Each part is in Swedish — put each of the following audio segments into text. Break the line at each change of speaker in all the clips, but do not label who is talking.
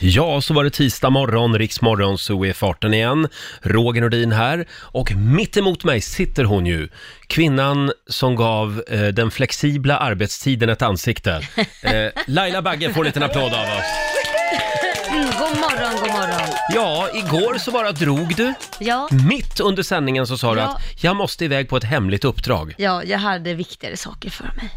Ja, så var det tisdag morgon, Riksmorgon, så är farten igen. Roger Nordin här och mitt emot mig sitter hon ju, kvinnan som gav eh, den flexibla arbetstiden ett ansikte. Eh, Laila Bagge får en liten applåd av oss.
Mm, god morgon, god morgon.
Ja, igår så bara drog du.
Ja,
Mitt under sändningen så sa du
Ja.
att jag måste iväg på ett hemligt uppdrag.
ja, jag hade viktigare saker för mig.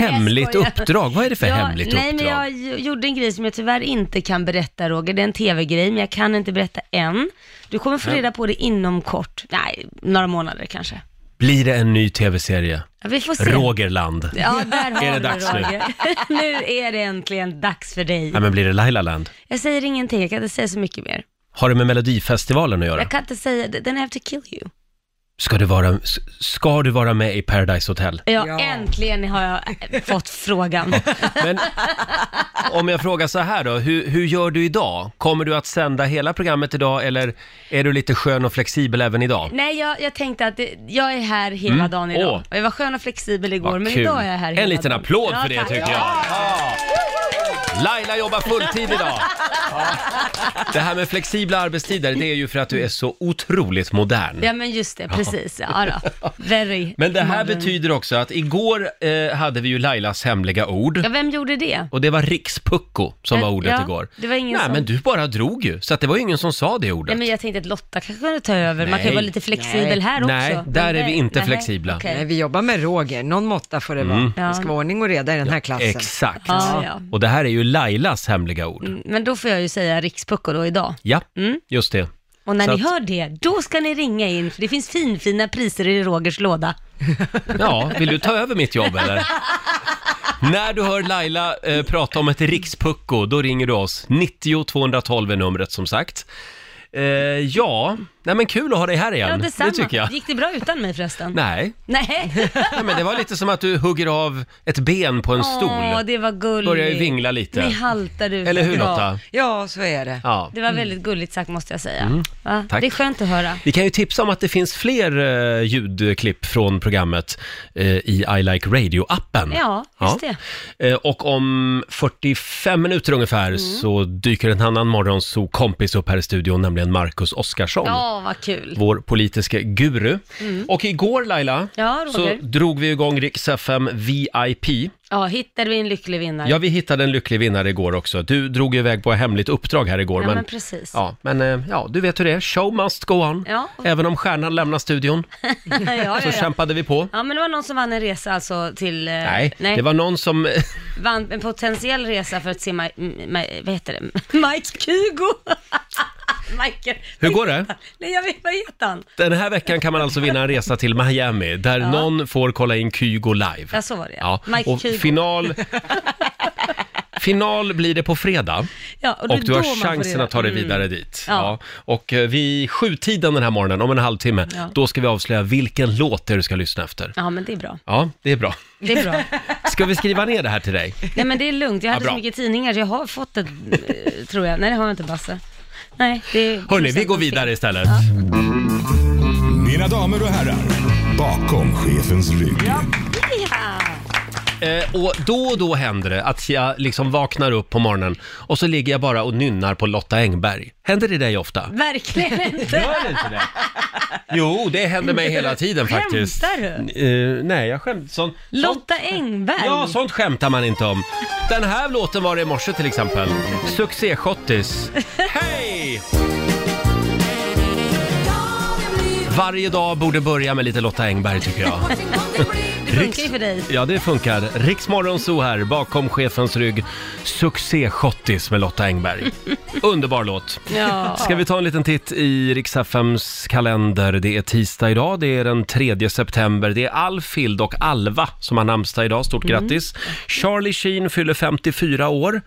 Hemligt
skojar.
uppdrag? Vad är det för
ja,
hemligt
nej,
uppdrag?
men jag gj- gjorde en grej som jag tyvärr inte kan berätta Roger. Det är en tv-grej, men jag kan inte berätta än. Du kommer få reda på det inom kort. Nej, några månader kanske.
Blir det en ny tv-serie?
Ja, vi får se.
Rogerland?
Ja, där har
Är det
vi
dags nu?
Roger. Nu? är det äntligen dags för dig.
Nej, men blir det Laila Land?
Jag säger ingenting, jag kan inte säga så mycket mer.
Har det med Melodifestivalen att göra?
Jag kan inte säga, then I have to kill you.
Ska du vara, s- ska du vara med i Paradise Hotel?
Ja,
Ja.
äntligen har jag eh, fått frågan.
Men om jag frågar så här då, hur, hur gör du idag? Kommer du att sända hela programmet idag eller är du lite skön och flexibel även idag?
Nej, jag, jag tänkte att det, jag är här hela
Mm.
dagen idag.
Åh.
Och jag var skön och flexibel igår,
Vad
men
kul.
idag är jag här hela
En liten
dagen.
applåd för
Ja,
det
tack.
tycker jag. Ja. Laila jobbar fulltid idag. Det här med flexibla arbetstider, det är ju för att du är så otroligt modern.
Ja, men just det, precis. Ja, då. Very
Men det här
modern.
betyder också att igår eh, hade vi ju Lailas hemliga ord.
Ja, vem gjorde det?
Och det var rikspucko som
Men-
var ordet
ja,
igår.
det var ingen
Nej,
som-
men du bara drog ju, så att det var ju ingen som sa det ordet.
Nej, men jag tänkte att Lotta kanske kunde ta över. Man kan
Nej.
ju vara lite flexibel
Nej.
här också.
Nej,
Men
där är
nej,
vi inte
nej,
flexibla.
okej.
Nej, vi jobbar med Roger, någon måtta får det
Mm.
vara.
Ja.
Det ska vara ordning och reda i den här klassen.
Exakt.
Ja, Mm. ja.
Och det här är ju Lailas hemliga ord.
Men då får jag ju säga rikspucko då idag.
Ja,
Mm.
just det.
Och när
Så
ni
att-
hör det, då ska ni ringa in, för det finns finfina priser i Rogers låda.
Ja, vill du ta över mitt jobb eller? När du hör Laila eh, prata om ett rikspucko, då ringer du oss. 90 212 är numret som sagt. Eh, ja, nej men kul att ha dig här igen.
Ja, detsamma.
Det tycker jag.
Gick det bra utan mig förresten?
Nej.
Nej.
nej, men det var lite som att du hugger av ett ben på en
Åh,
stol.
det var gulligt.
Börjar ju vingla lite.
Ni haltar ut.
Eller hur
Ja.
Lotta?
Ja, så är det.
Ja.
Det var väldigt gulligt sagt måste jag säga. Va?
Mm. Tack. Mm.
Det är skönt att höra.
Vi kan ju tipsa om att det finns fler eh, ljudklipp från programmet eh, i I Like Radio-appen.
Ja, just det. Mm.
Eh, och om 45 minuter ungefär så dyker en annan morgonso-kompis upp här i studion, nämligen Marcus Oskarsson.
Ja, vad kul.
Vår politiska guru. Och igår Laila,
Ja, Roger.
så drog vi igång Rix FM VIP.
Ja, hittade vi en lycklig vinnare.
Ja, vi hittade en lycklig vinnare igår också. Du drog ju iväg på ett hemligt uppdrag här igår.
Ja, men precis.
Ja, men eh, ja, du vet hur det är. Show must go on.
Ja.
Även om stjärnan lämnar studion
ja, ja,
så
ja.
kämpade vi på.
ja, men det var någon som vann en resa alltså till... eh,
Nej, det var någon som...
Vann en potentiell resa för att se Mike, vad heter det? Mike Kygo! Michael.
Hur går det?
Nej, jag vet, vad heter han?
Den här veckan kan man alltså vinna en resa till Miami där någon får kolla in Kygo live.
Ja, så var det
Ja,
Mike
och
Kygo.
final... Final blir det på fredag
ja,
och,
det är
du
då man
har
får
chansen
reda-
att ta dig
Mm.
vidare dit. Ja.
Ja.
Och eh, vid sjutiden den här morgonen, om en halvtimme,
Ja.
då ska vi avslöja vilken låt det är du ska lyssna efter.
Mm. Ja, men det är bra.
Ja, det är bra.
Det är bra.
Ska vi skriva ner det här till dig?
Nej men det är lugnt, jag hade
bra.
så mycket tidningar så jag har fått ett, eh, tror jag. Nej det har jag inte Basse. Nej, det är...
Hörni, vi går vidare istället.
Mina damer och herrar, bakom chefens rygg.
Ja.
Eh, och då och då händer det att jag liksom vaknar upp på morgonen och så ligger jag bara och nynnar på Lotta Engberg. Händer det dig ofta?
Verkligen inte.
Gör det inte det? Jo, det händer mig hela tiden faktiskt.
Skämtar
du? nej, jag skämtar. Sånt, sånt,
Lotta Engberg.
ja, sånt skämtar man inte om. Den här låten var det i morse till exempel. Succéschottis. Hej! Varje dag borde börja med lite Lotta Engberg tycker jag.
Det funkar ju för dig.
Ja, det funkar. Riksmorgon så här, bakom chefens rygg. Succéschottis med Lotta Engberg. Underbar låt.
Ja.
Ska vi ta en liten titt i Riks-FMs kalender? Det är tisdag idag, det är den 3 september. Det är Alfhild och Alva som har namnsdag idag. Stort
Mm.
grattis! Charlie Sheen fyller 54 år.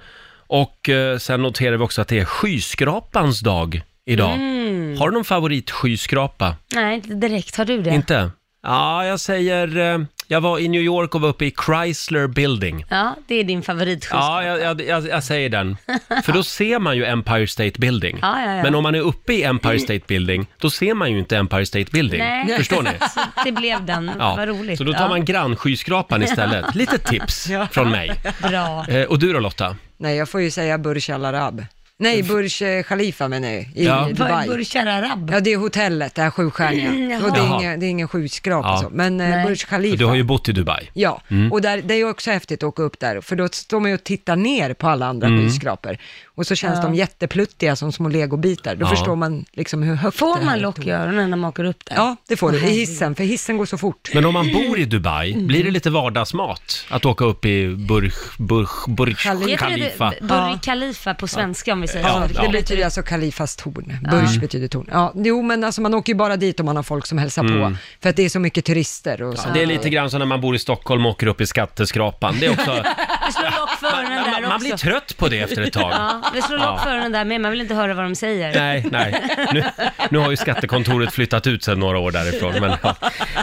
Och eh, sen noterar vi också att det är skyskrapans dag idag.
Mm.
Har du någon favoritskyskrapa?
Nej, inte direkt. Har du det?
Inte? Ja, jag säger... eh, Jag var i New York och var uppe i Chrysler Building.
Ja, det är din favoritskjuts.
Ja, jag, jag, jag, jag säger den. För då ser man ju Empire State Building.
Ja, ja, ja.
Men om man är uppe i Empire State Building, då ser man ju inte Empire State Building.
Nej.
Förstår ni?
Så det blev den. Vad roligt.
Så då tar man grannskyskrapan istället. Lite tips från mig.
ja. Bra.
Eh, och du då Lotta?
Nej, jag får ju säga Burj Al Arab. Nej, Burj eh, Khalifa menar jag, i
Ja.
Vad är
Dubai.
Burj Al Arab?
Ja, det är hotellet, det här sjustjärniga.
Mm, jaha.
och det
Jaha.
är ingen, det är ingen skyskrapa
Ja.
och så. Men eh,
Nej.
Burj Khalifa.
Du har ju Mm. bott i Dubai.
Ja, och där, det är ju också häftigt att åka upp där, för då står man ju och tittar ner på alla andra
Mm.
skyskrapor. Och så känns de jättepluttiga som små legobitar. Då
Ja.
förstår man liksom hur högt det
Får
här
man
är.
lock i öronen när man åker upp där?
Ja, det får du. I hissen, för hissen går så fort.
Men om man bor i Dubai, blir det lite vardagsmat att åka upp i Burj, Burj, Burj
Heter
Khalifa?
det Burj Khalifa på svenska om vi säger
Ja,
så?
ja.
Det
Det blir
betyder
typ
alltså Kalifas torn. Burj betyder torn. Ja, jo, men alltså man åker ju bara dit om man har folk som hälsar på, för att det är så mycket turister och
Mm. Ja,
så.
Det är lite grann som när man bor i Stockholm och åker upp i skatteskrapan. Det är också,
Vi slår lock för öronen
man,
där
man blir
också.
trött på det efter ett tag.
Ja, vi slår
Ja.
lock för öronen där med, man vill inte höra vad de säger.
Nej, nej. Nu, nu har ju skattekontoret flyttat ut sedan några år därifrån. Men, ja.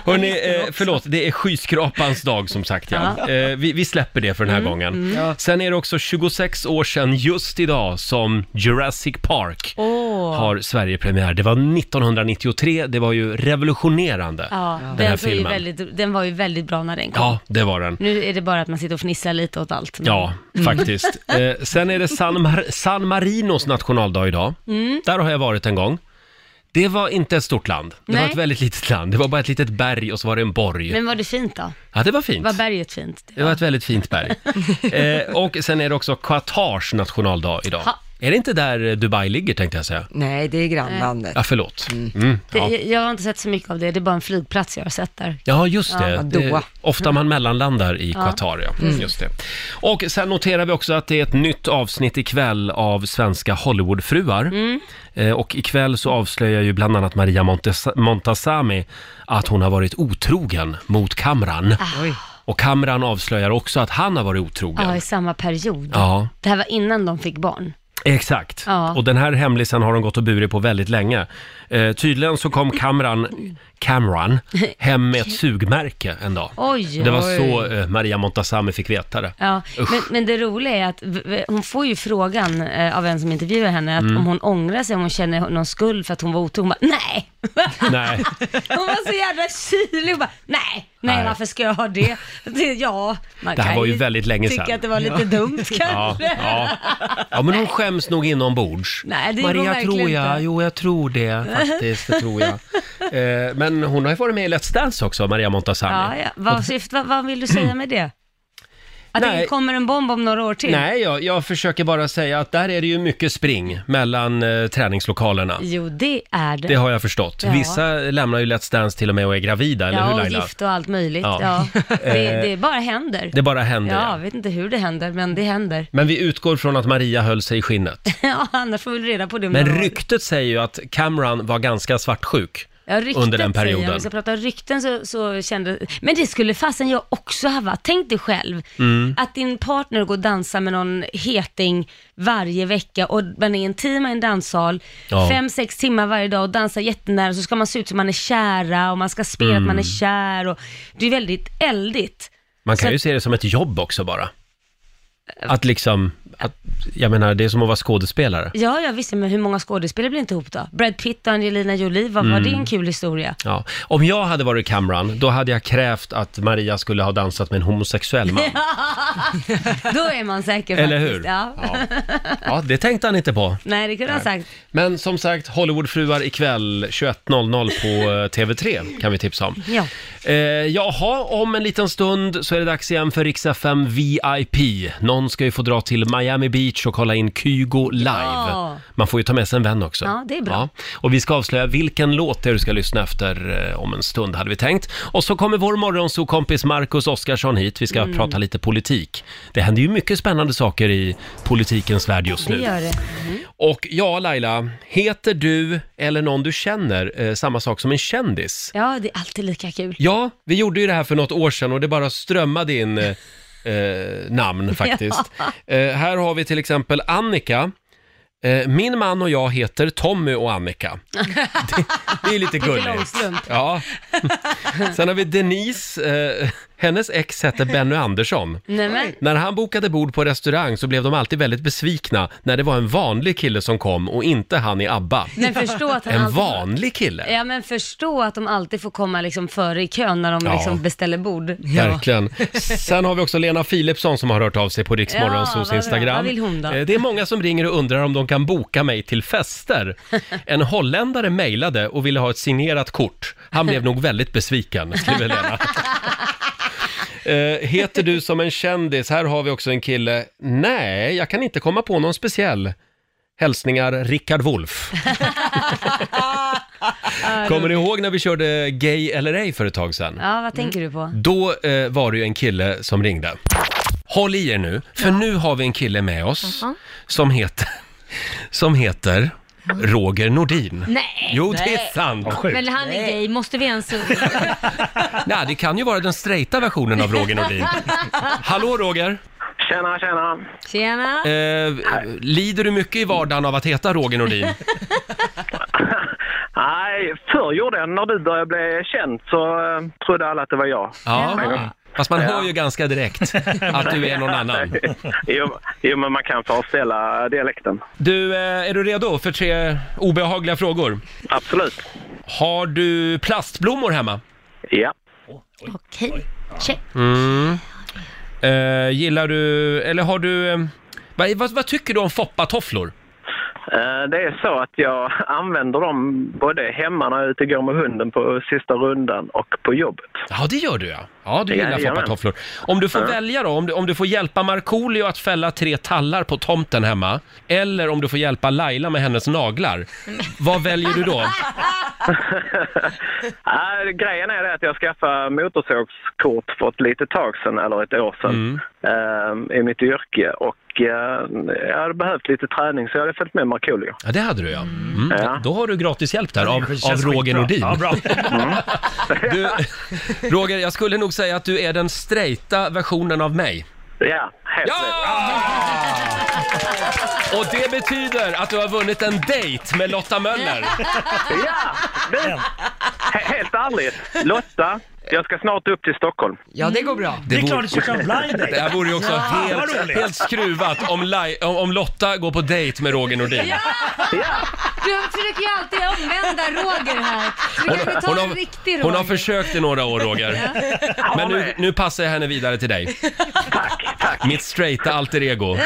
Hörrni, eh, förlåt, det är skyskrapans dag som sagt. Ja. Eh, vi, vi släpper det för den här
Mm,
gången. Sen är det också 26 år sedan just idag som Jurassic Park har Sverigepremiär. Det var 1993, det var ju revolutionerande,
Ja,
den här
den, såg ju
filmen.
väldigt, den var ju väldigt bra när den kom.
Ja, det var den.
Nu är det bara att man sitter och fnissar lite åt allt.
Ja,
Mm.
faktiskt. Eh, sen är det San, Mar- San Marinos nationaldag idag.
Mm.
Där har jag varit en gång. Det var inte ett stort land. Det var
Nej.
ett väldigt litet land. Det var bara ett litet berg och så var det en borg.
Men var det fint då?
ja, det var fint.
Var berget fint?
det var ett väldigt fint berg. eh, och sen är det också Qatars nationaldag idag.
Ha.
Är det inte där eh, Dubai ligger tänkte jag säga?
Nej, det är grannlandet.
Ja, förlåt. Mm,
Det,
ja.
jag, jag har inte sett så mycket av det, det är bara en flygplats jag har sett där.
Ja, just det.
Ja,
det
Doha.
ofta man mellanlandar i Qatar, ja. Just det. Och sen noterar vi också att det är ett nytt avsnitt ikväll av Svenska Hollywoodfruar. Eh, och ikväll så avslöjar ju bland annat Maria Montes- Montazami att hon har varit otrogen mot Kamran.
Oj.
Och Kamran avslöjar också att han har varit otrogen.
Ah, Ja, i samma period.
Ja,
Det här var innan de fick barn.
exakt.
Ja.
Och den här hemlisen har de gått och burit på väldigt länge. Eh, tydligen så kom Kamran, Kamran hem med ett sugmärke en dag.
Oj!
Det var
Oj.
så eh, Maria Montazami fick veta det.
Ja, men, men det roliga är att v- v- hon får ju frågan eh, av en som intervjuar henne att
Mm.
om hon ångrar sig, om hon känner någon skuld för att hon var otrogen. Hon bara, nej!
Nej,
Hon var så jävla kylig och bara, nej, nej,
Nej.
varför ska jag ha det? det ja, man
Det här
kan
var ju väldigt länge
tycka
sedan.
att det var lite dumt
ja,
kanske.
ja. ja men hon skäms nog inombords.
Nej, det gjorde hon
Maria,
verkligen
tror jag.
inte.
Jo, jag tror det faktiskt. Det tror jag. Eh, men hon har ju varit med i Let's Dance också, Maria
Ja,
Montazami.
ja. Vad, syft, vad, vad vill du säga med det? Att
Nej.
det kommer en bomb om några år till?
Nej, jag, jag försöker bara säga att där är det ju mycket spring mellan eh, träningslokalerna.
Jo, det är det.
Det har jag förstått.
Ja.
Vissa lämnar ju Let's Dance till och med och är gravida, eller
ja,
hur
och
Laila?
gift och allt möjligt.
Ja. Eh,
Ja. Det, det bara händer.
Det bara händer.
ja,
ja.
jag vet inte hur det händer, men det händer.
Men vi utgår från att Maria höll sig i skinnet.
Ja, annars får vi väl reda på det om
Men
några år.
ryktet säger ju att Cameron var ganska svartsjuk
Ja, ryktet
under den
säger jag.
perioden.
Om vi ska prata om rykten så, så kände Men det skulle fasen jag också ha varit. Tänk dig själv,
Mm.
att din partner går och dansar med någon heting varje vecka och man är en timme i en danssal,
Ja.
fem, sex timmar varje dag och dansar jättenära så ska man se ut som man är kära och man ska spela att
Mm.
man är kär och det är väldigt eldigt.
Man kan
Så- Äh.
ju se det som ett jobb också bara. Att liksom, att, jag menar det är som att vara skådespelare.
Ja, ja visst, men hur många skådespelare blir inte ihop då? Brad Pitt och Angelina Jolie, vad var det
Mm.
en kul historia?
Ja. Om jag hade varit Cameron, då hade jag krävt att Maria skulle ha dansat med en homosexuell man.
Då är man säker
Eller
faktiskt.
hur?
Ja.
Ja. ja, det tänkte han inte på.
Nej, det kunde han sagt.
Men som sagt, Hollywoodfruar ikväll 21.00 på eh, TV3 kan vi tipsa om.
Ja.
Eh, jaha, om en liten stund så är det dags igen för Rix FM VIP. Någon ska ju få dra till Miami Beach och kolla in Kygo live.
Ja.
Man får ju ta med sig en vän också.
Ja, det är bra.
Och vi ska avslöja vilken låt det är du ska lyssna efter eh, om en stund, hade vi tänkt. Och så kommer vår morgonsokompis Marcus Oskarsson hit. Vi ska
Mm.
prata lite politik. Det händer ju mycket spännande saker i politikens värld just
Det
nu.
gör det.
Och ja, Laila, heter du eller någon du känner eh, samma sak som en kändis?
Ja, det är alltid lika kul.
Ja, vi gjorde ju det här för något år sedan och det bara strömmade in eh, eh, namn faktiskt. Eh, här har vi till exempel Annika. Eh, min man och jag heter Tommy och Annika. Det, det är lite
Pippi
gulligt.
Långstrump.
Ja. Sen har vi Denise. Eh, Hennes ex hette Benny Andersson.
Nej, men,
När han bokade bord på restaurang så blev de alltid väldigt besvikna när det var en vanlig kille som kom och inte han i ABBA.
men förstå att han
En
alltid...
vanlig kille?
Ja men förstå att de alltid får komma liksom före i kön när de
Ja.
liksom beställer bord.
Verkligen. Sen har vi också Lena Philipsson som har hört av sig på Rix
Ja, vad
Morgonzos
bra.
Instagram.
Vad vill hon då?
Eh, Det är många som ringer och undrar om de kan boka mig till fester. En holländare mejlade och ville ha ett signerat kort. Han blev nog väldigt besviken, skriver Lena. Eh, heter du som en kändis? Här har vi också en kille. Nej, jag kan inte komma på någon speciell. Hälsningar Rickard Wolff. Kommer ni ihåg när vi körde Gay eller ej för ett tag sedan?
Ja, vad tänker du på?
Då eh, var det ju en kille som ringde. Håll i er nu, för nu har vi en kille med oss som heter, som heter Roger Nordin.
Nej.
Jo, det är sant.
Men han är gay, måste vi ens...
Nej, det kan ju vara den straighta versionen av Roger Nordin. Hallå Roger!
Tjena, tjena.
Tjena.
Eh, lider du mycket i vardagen av att heta Roger Nordin?
Nej, förr gjorde jag När du började bli känd så eh, trodde alla att det var jag.
Ja. Fast man hör ju ganska direkt att du är någon annan.
jo, jo, men man kan föreställa dialekten.
Du, eh, är du redo för tre obehagliga frågor?
Absolut.
Har du plastblommor hemma?
Ja.
Okej. Check.
Eh, gillar du, eller har du, eh, vad, vad, vad tycker du om foppatofflor?
Eh, Det är så att jag använder dem både hemma när jag är ute och går med hunden på sista rundan och på jobbet.
Ja, det gör du ja. Ja, du gillar
Jajamän.
foppatofflor. Om du får välja då, om du, om du får hjälpa Markoolio att fälla tre tallar på tomten hemma, eller om du får hjälpa Laila med hennes naglar, vad väljer du då?
Nej, Eh, grejen är det att jag skaffade motorsågskort för ett litet tag sedan, eller ett år sedan, eh, i mitt yrke. Och eh, jag hade behövt lite träning så jag hade följt med Markoolio.
Ja, det hade du ja. Mm.
Ja.
Då har du gratis hjälp där av,
Det känns
av Roger
skitbra.
Nordin.
Ja, bra.
Du, Roger, jag skulle nog säga att du är den straighta versionen av mig.
Ja, helt rätt.
Ah! Och det betyder att du har vunnit en dejt med Lotta Möller.
Ja, du, he- helt ärligt. Lotta, jag ska snart upp till Stockholm.
Ja, det går
Mm.
bra.
Det är klart du ska köra blind
Det här
date.
vore ju också
vad
helt,
roligt.
helt skruvat om, Lai- om- om Lotta går på dejt med Roger Nordin.
Du försöker ju alltid omvända Roger här. Du kan
Hon,
ju
hon,
ta en riktig
har,
Roger.
hon har försökt i några år Roger, men nu, nu passar jag henne vidare till dig.
Tack, tack.
Mitt straighta alter ego.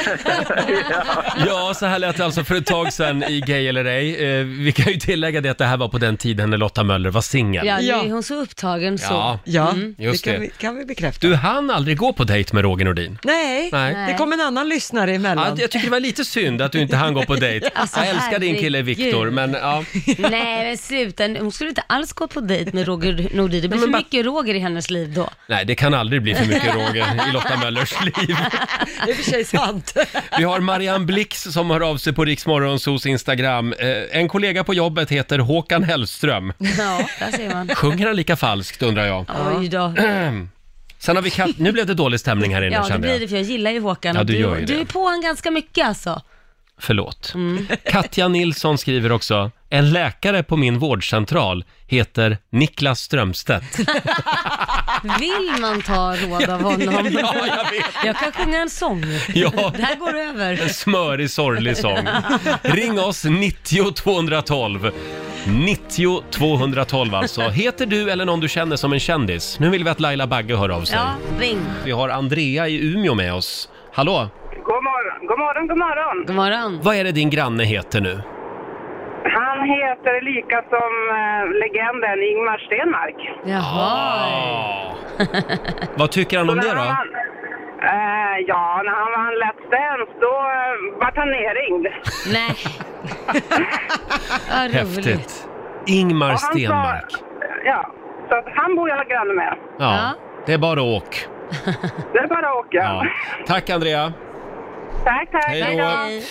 Ja, så här lät det alltså för ett tag sedan i Gay eller ej. Eh, Vi kan ju tillägga det att det här var på den tiden när Lotta Möller var singel.
Ja, nu
Ja.
är hon så upptagen så.
Ja.
Ja,
Mm. just
det
det.
kan, Vi, kan vi bekräfta.
Du hann aldrig gå på dejt med Roger Nordin.
Nej,
Nej.
det kom en annan lyssnare
Ja,
emellan.
jag tycker det var lite synd att du inte hann gå på dejt.
Alltså,
jag älskar din kille
herregud.
Viktor, men ja.
Nej men sluta, hon skulle inte alls gå på dejt med Roger Nordin. Det blir
Men
för
bara-
mycket Roger i hennes liv då.
Nej, det kan aldrig bli för mycket Roger i Lotta Möllers liv.
Det är i och för sig sant.
Vi har Marianne Blix som hör av sig på Riksmorgonsos Instagram. Eh, En kollega på jobbet heter Håkan Hellström.
Ja, där ser man.
Sjunger han lika falskt undrar jag.
Oj då.
Sen har vi Kat- Nu blev det dålig stämning här inne
Ja, det
kände
blir
jag.
det för jag gillar ju Håkan.
Ja,
och
du gör ju
du
det.
är på honom ganska mycket alltså.
Förlåt.
Mm.
Katja Nilsson skriver också. En läkare på min vårdcentral heter Niklas Strömstedt.
Vill man ta råd av honom?
Ja, jag vet.
Jag kan sjunga en sång.
Ja.
Det här går över.
En smörig, sorglig sång. Ring oss 90 212. 90 212 alltså. Heter du eller någon du känner som en kändis? Nu vill vi att Laila Bagge hör av sig.
Ja, ring.
Vi har Andrea i Umeå med oss. Hallå?
God morgon, god morgon, god morgon.
God morgon.
Vad är det din granne heter nu?
Han heter lika som eh, legenden Ingmar Stenmark.
Jaha.
Ah. Vad tycker han om det
När han
då?
vann- Eh, ja, när han vann Let's Dance då uh, vart han nerringd.
Nej. Vad roligt.
Häftigt. Ingmar
Och han sa-
Stenmark.
Ja, så att han bor jag granne med.
Ja,
Ja.
det är bara åk.
Det är bara att åka.
Ja. Tack Andrea.
Tack, tack.
Hej då.
Hej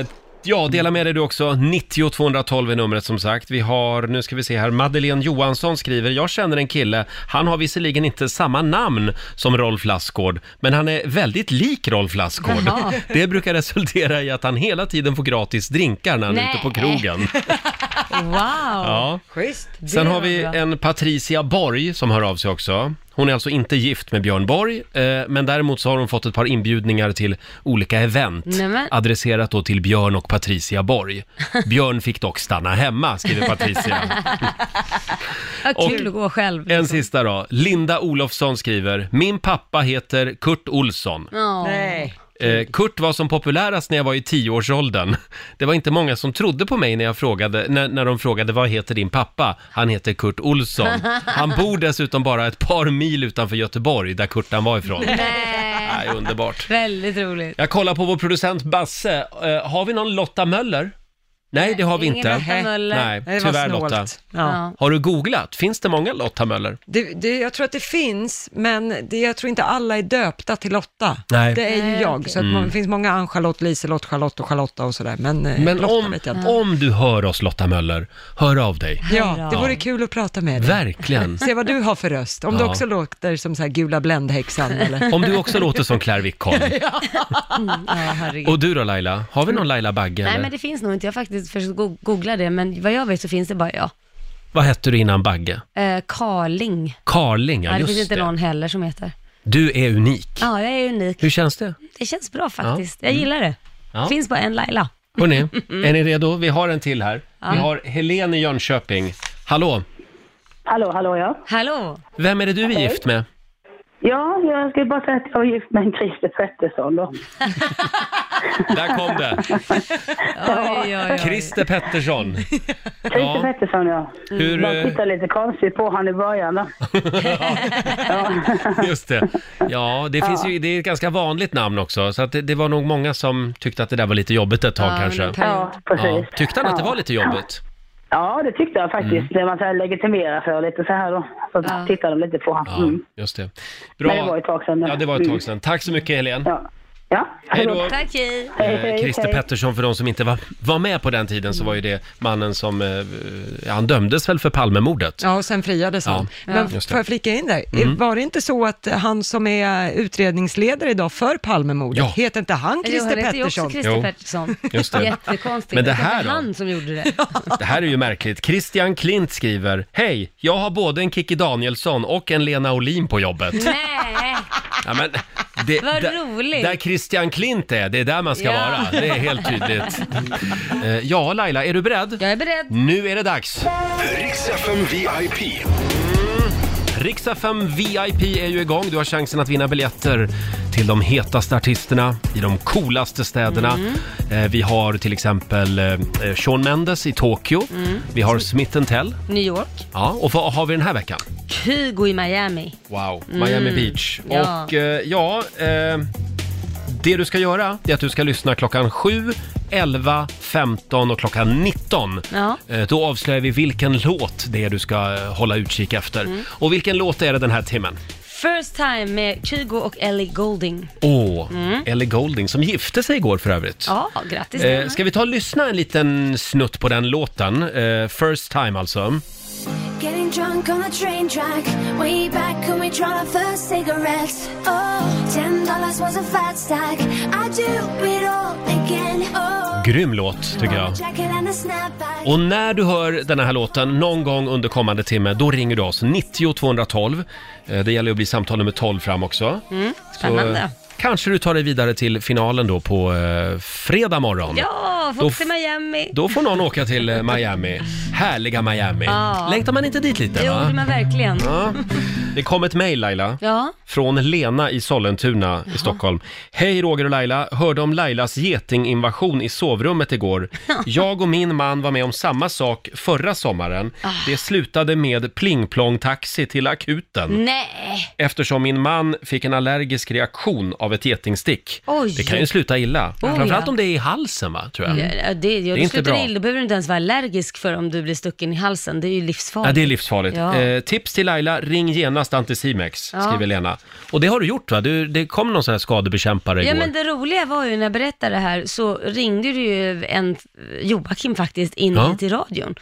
Eh, ja, dela med dig du också. 90 212 är numret som sagt. Vi har, nu ska vi se här, Madeleine Johansson skriver, jag känner en kille, han har visserligen inte samma namn som Rolf Lassgård, men han är väldigt lik Rolf Lassgård.
Jaha.
Det brukar resultera i att han hela tiden får gratis drinkar när han är
Nej.
ute på krogen.
Wow.
Ja.
Schysst.
Sen
Det
har
var
vi
bra.
en Patricia Borg som hör av sig också. Hon är alltså inte gift med Björn Borg, eh, men däremot så har hon fått ett par inbjudningar till olika event
Nämen.
adresserat då till Björn och Patricia Borg. Björn fick dock stanna hemma, skriver Patricia.
Vad kul att gå själv.
En sista då. Linda Olofsson skriver, min pappa heter Kurt Olsson.
Ja.
Nej.
Eh, Kurt var som populärast när jag var i tioårsåldern. Det var inte många som trodde på mig när, jag frågade, när, när de frågade vad heter din pappa? Han heter Kurt Olsson. Han bor dessutom bara ett par mil utanför Göteborg, där Kurtan var ifrån.
Nej.
Nej, underbart.
Väldigt roligt.
Jag kollar på vår producent Basse. Eh, har vi någon Lotta Möller? Nej, det har vi
Ingen
inte.
Lotta Möller.
Nej,
Det var
tyvärr
snålt.
Lotta.
Ja.
Ja.
Har du googlat? Finns det många Lotta Möller?
Det, det, jag tror att det finns, men det, jag tror inte alla är döpta till Lotta.
Nej. Mm.
Det är ju jag, så att man, det finns många Ann-Charlotte, Liselott, Charlotte och Charlotta och sådär, men, eh,
Men
Lotta
om,
vet jag inte.
om du hör oss Lotta Möller, hör av dig.
Ja, det vore kul att prata med dig.
Verkligen.
Se vad du har för röst, om du
Ja.
också låter som så här gula bländhäxan eller...
Om du också låter som Claire Wickholm.
Ja, herregud.
Och du då Laila? Har vi någon Laila Bagge
Mm. Nej
eller?
men det finns nog inte, jag har faktiskt försökt go- googla det, men vad jag vet så finns det bara jag.
Vad hette du innan Bagge?
Eh, Carling.
Karling,
Ja,
ja
det finns
just
inte
det.
någon heller som heter.
Du är unik.
Ja, jag är unik.
Hur känns det?
Det känns bra faktiskt. Jag gillar det.
Mm. Ja.
Finns bara en Laila.
Hörrni, är ni redo? Vi har en till här. Vi har Helene i Jönköping. Hallå!
Hallå, hallå ja.
Hallå!
Vem är det du är gift med?
Ja, jag skulle bara säga att jag är gift med en Christer Pettersson då.
Där kom det!
Oj, oj, oj.
Christer Pettersson.
Christer Pettersson ja.
Hur,
Man
eh,
tittar lite konstigt på han i början då.
just det. Ja, det, finns ju, det är ett ganska vanligt namn också, så att det, det var nog många som tyckte att det där var lite jobbigt ett tag
Ja,
kanske.
men kan-
Ja, precis.
Ja. Tyckte han att det var lite jobbigt? Mm.
Ja, det tyckte jag faktiskt. När man så här legitimerar sig och lite så här då. Så tittar de lite på honom.
Ja,
Mm.
just det. Bra.
Men det var ett tag sedan.
Ja, det var ett tag
Mm.
sedan. Tack så mycket Helene.
Ja. ja.
Hej då.
Tack, hej.
Hej,
Eh,
hej,
Christer
hej.
Pettersson, för de som inte var, var med på den tiden, så var ju det mannen som, eh, ja, han dömdes väl för Palmemordet?
Ja, och sen friades han.
Ja,
Men
just det. Mm.
får jag flika in där? Var det inte så att han som är utredningsledare idag för Palmemordet,
Ja.
heter inte han
Jo,
Christer
han heter ju också
Pettersson?
Jo.
Christer Pettersson.
Just det.
Jättekonstigt.
Men det
var
här
inte
då?
han som gjorde det.
Det här är ju märkligt. Christian Klint skriver, Hej, jag har både en Kikki Danielsson och en Lena Olin på jobbet.
Nej,
Ja, men det,
Vad
där-
roligt.
Där Christian Klint är, det är där man ska
Ja.
vara. Det är helt tydligt. Eh, ja, Laila, är du beredd?
jag är beredd.
Nu är det dags!
Riks FM VIP.
Riksfem VIP är ju igång. Du har chansen att vinna biljetter till de hetaste artisterna i de coolaste städerna.
Mm.
Eh, Vi har till exempel eh, Shawn Mendes i Tokyo.
Mm.
Vi har Smith Tell.
New York.
Ja, och vad har vi den här veckan?
Kygo i Miami.
Wow, Miami Beach.
Mm. Ja.
Och eh, ja, eh, det du ska göra det är att du ska lyssna klockan 7, 11, 15 och klockan 19.
Ja.
Eh, Då avslöjar vi vilken låt det är du ska eh, hålla utkik efter.
Mm.
Och vilken låt är det den här timmen?
First time med Kygo och Ellie Golding.
Åh, Ellie Golding som gifte sig igår för övrigt.
Mm. Ja, grattis.
Eh, ska vi ta och lyssna en liten snutt på den låten? Eh, first time alltså.
Getting drunk on the train track. Way back when we tried our first cigarettes. Oh, ten dollars was a fat stack. I do it all again. Oh,
Grym låt tycker jag.
jacket and a snapback.
Och när du hör den här låten någon gång under kommande timme, då ringer du oss. 90 212. Eh, Det gäller att bli samtal nummer 12 fram också.
Mm, Spännande.
eh, kanske du tar dig vidare till finalen då på eh, fredag morgon.
ja,
då
folk till
f-
Miami.
Då får någon åka till eh, Miami. Härliga Miami.
Ja.
Längtar man inte dit lite?
det
va?
gjorde man verkligen.
Ja. Det kom ett mejl Laila.
Ja.
Från Lena i Sollentuna i Stockholm. Hej Roger och Laila, hörde om Lailas getinginvasion i sovrummet igår. Jag och min man var med om samma sak förra sommaren.
Ah.
Det slutade med plingplong-taxi till
Mm.
akuten.
Nej,
Eftersom min man fick en allergisk reaktion av ett getingstick.
Oj.
Det kan ju sluta illa.
Oh,
Framförallt
ja.
om det är i halsen va, tror jag.
ja, Eh, det, ja,
Det är
du
inte
slutar
bra.
illa. Då behöver du inte ens vara allergisk för om du blir stucken i halsen. Det är ju livsfarligt.
Ja, det är livsfarligt.
Ja.
Eh, tips till Laila, ring genast Anticimex,
Ja.
skriver Lena. Och det har du gjort va? Du, det kom någon sån här skadebekämpare
Ja
igår.
men det roliga var ju när jag berättade det här så ringde det ju en Joakim faktiskt in
Ja.
till radion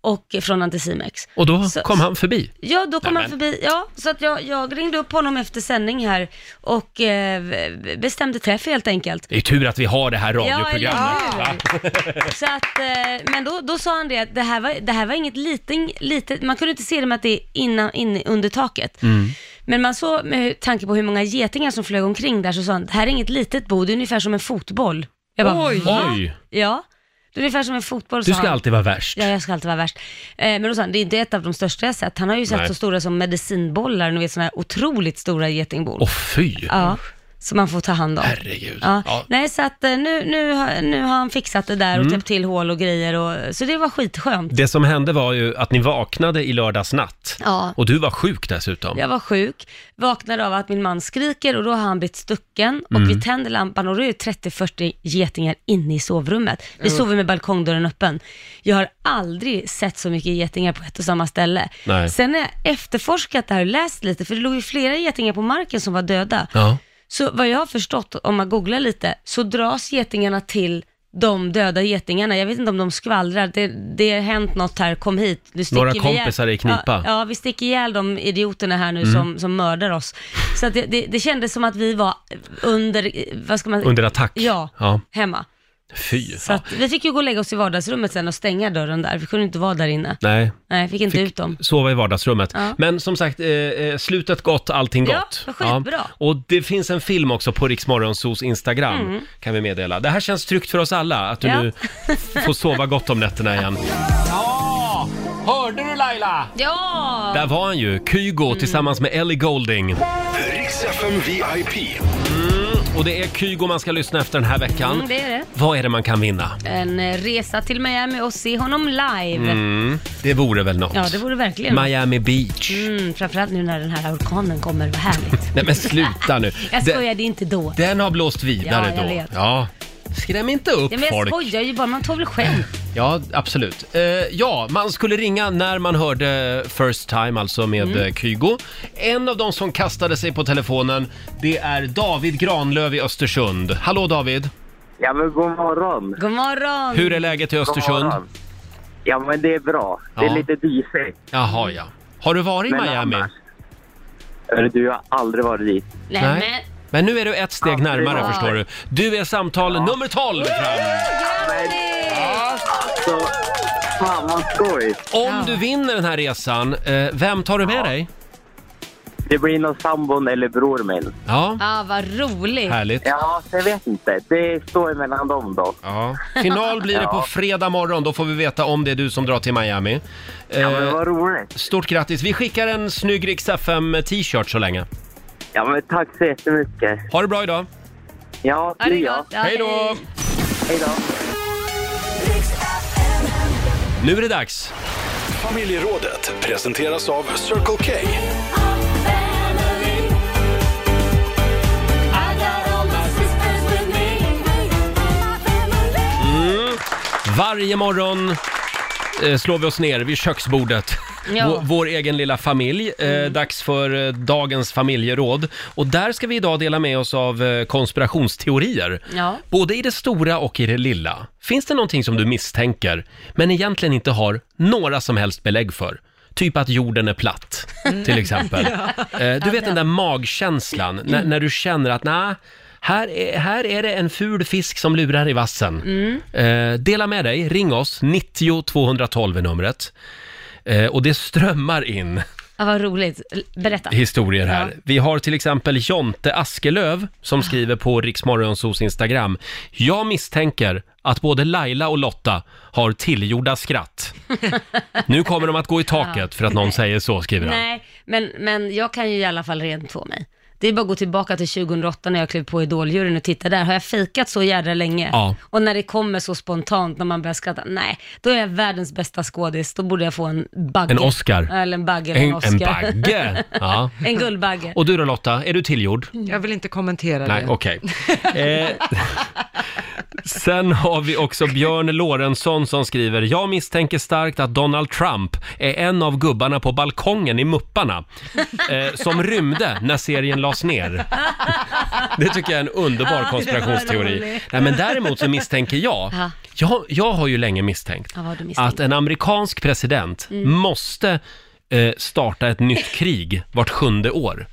och från Anticimex.
Och då
Så-
kom han förbi.
Ja, då kom
Nämen.
han förbi. Ja, så att jag, jag ringde upp honom efter sändning här och eh, bestämde träff helt enkelt.
Det är tur att vi har det här
Ja,
radioprogrammet.
eller
va?
Så att, eh, men då, då sa han det att det här var, det här var inget liten, litet, man kunde inte se det med att det är innan, in, under taket.
Mm.
Men man såg med tanke på hur många getingar som flög omkring där så sa han, det här är inget litet bo, det är ungefär som en fotboll. Jag bara,
Oj.
"Va?"
Oj.
Ja, det är ungefär som en fotboll
Du
sa
ska
han.
alltid vara värst.
Ja, jag ska alltid vara värst. Eh, men då sa han, det är inte ett av de största jag sett. Han har ju sett
Nej.
så stora som medicinbollar, ni vet sådana här otroligt stora getingbon.
Åh fy.
Ja, som man får ta hand om.
Herregud.
Ja.
Ja. Mm.
Nej, så att eh, nu, nu, har- nu har han fixat det där och täppt till hål och grejer. Och, så det var skitskönt.
Det som hände var ju att ni vaknade i lördags natt.
Ja.
Och du var sjuk dessutom.
Jag var sjuk, vaknade av att min man skriker och då har han blivit stucken och
Mm.
vi tänder lampan och då är det 30-40 getingar inne i sovrummet. Vi
Mm.
sover med balkongdörren öppen. Jag har aldrig sett så mycket getingar på ett och samma ställe.
Nej.
Sen har jag efterforskat det här och läst lite, för det låg ju flera getingar på marken som var döda.
Ja.
Så vad jag har förstått, om man googlar lite, så dras getingarna till de döda getingarna. Jag vet inte om de skvallrar. Det, det har hänt något här, kom hit. Nu sticker
Några
vi ihjäl-
kompisar i knipa. Mm.
Ja, ja, vi sticker ihjäl de idioterna här nu som, som mördar oss. Så att det, det, det kändes som att vi var under, eh, vad ska man
Under attack.
Ja,
Ja.
hemma.
Fy.
Så
Ja.
att, vi fick ju gå och lägga oss i vardagsrummet sen och stänga dörren där. Vi kunde inte vara där inne.
Nej,
Nej, fick inte ut dem.
sova i vardagsrummet.
Ja.
Men som sagt, eh, eh, slutet gott, allting
Ja,
gott.
vad skitbra.
Och det finns en film också på Riksmorgonsos Instagram, kan vi meddela. Det här känns tryggt för oss alla, att du
Mm. Ja.
nu får sova gott om nätterna igen. Ja! Hörde du Laila?
Ja! Mm.
Där var han ju, Kygo tillsammans med Ellie Golding.
Riks FM VIP.
Och det är Kygo man ska lyssna efter den här veckan.
Mm, det är det.
Vad är det man kan vinna?
En eh, resa till Miami och se honom live.
Det vore väl något.
Ja, det vore verkligen
Mm. Miami Beach.
Mm, framförallt nu när den här orkanen kommer, vad härligt.
Nej men sluta nu.
Jag
Den-
skojade inte då.
Den har blåst vidare
Ja, jag
då.
vet.
Ja. Skräm inte upp
Ja, men jag
folk.
skojar ju bara, man tar väl skämt.
Ja, absolut. Eh, ja, man skulle ringa när man hörde First Time, alltså med
Mm.
eh, Kygo. En av de som kastade sig på telefonen, det är David Granlöf i Östersund. Hallå David!
Ja, men god morgon.
God morgon!
Hur är läget i Östersund?
Ja, men det är bra.
Det är Ja. lite
disigt.
Jaha, ja. Har du varit i
Men
Miami?
annars? Hörru, du, jag har aldrig varit dit.
Nej,
Nej. Men nu är du ett steg
Aldrig
närmare
varit.
förstår du. Du är samtal nummer 12 fram.
Så, fan vad skoj!
Om du vinner den här resan, eh, vem tar du med dig?
Det blir nog sambon eller bror min.
Ja,
Ah, vad roligt!
härligt.
Ja, jag vet inte. Det står mellan dem då.
Ja. Final blir det på
Ja.
fredag morgon, då får vi veta om det är du som drar till Miami.
Ja,
Eh,
men vad roligt.
Stort grattis! Vi skickar en snygg Rix FM t-shirt så länge.
Ja, men tack så jättemycket.
Ha det bra idag!
Ja,
Ha det
det är jag.
gott. Ja,
Hej då!
Hej då.
Nu är det dags!
Familjerådet presenteras av Circle K.
Varje morgon eh, slår vi oss ner vid köksbordet.
Ja.
Vår, vår egen lilla familj. Eh, Dags för eh, dagens familjeråd. Och där ska vi idag dela med oss av eh, konspirationsteorier.
Ja.
Både i det stora och i det lilla. Finns det någonting som du misstänker, men egentligen inte har några som helst belägg för? Typ att jorden är platt, till exempel. Eh, Du vet den där magkänslan, när, när du känner att nej, här är, här är det en ful fisk som lurar i vassen. Eh, dela med dig, ring oss, 90 212 är numret. Eh, och det strömmar in
Ah, vad roligt. Berätta.
historier här.
Ja.
Vi har till exempel Jonte Askelöv som skriver på Riksmorgonsos Instagram. Jag misstänker att både Laila och Lotta har tillgjorda skratt. Nu kommer de att gå i taket för att någon säger så, skriver han.
Nej, men, men jag kan ju i alla fall rentvå mig. Det är bara att gå tillbaka till 2008 när jag klev på idoljuryn och titta där. Har jag fejkat så jädra länge?
Ja.
Och när det kommer så spontant, när man börjar skratta, nej, då är jag världens bästa skådis. Då borde jag få en bagge.
En Oscar.
Eller en bagge eller en
En,
Oscar.
en bagge! Ja.
En guldbagge.
Och du då Lotta, är du tillgjord?
Jag vill inte kommentera
Nej,
det.
okej. Eh, Sen har vi också Björn Lorentzon som skriver “Jag misstänker starkt att Donald Trump är en av gubbarna på balkongen i Mupparna eh, som rymde när serien lades ner”. Det tycker jag är en underbar konspirationsteori.
roligt.
Nej, men däremot så misstänker jag,
Ja.
jag, jag har ju länge misstänkt
Ja, vad har du Mm. misstänkt?
att en amerikansk president måste eh, starta ett nytt krig vart sjunde år.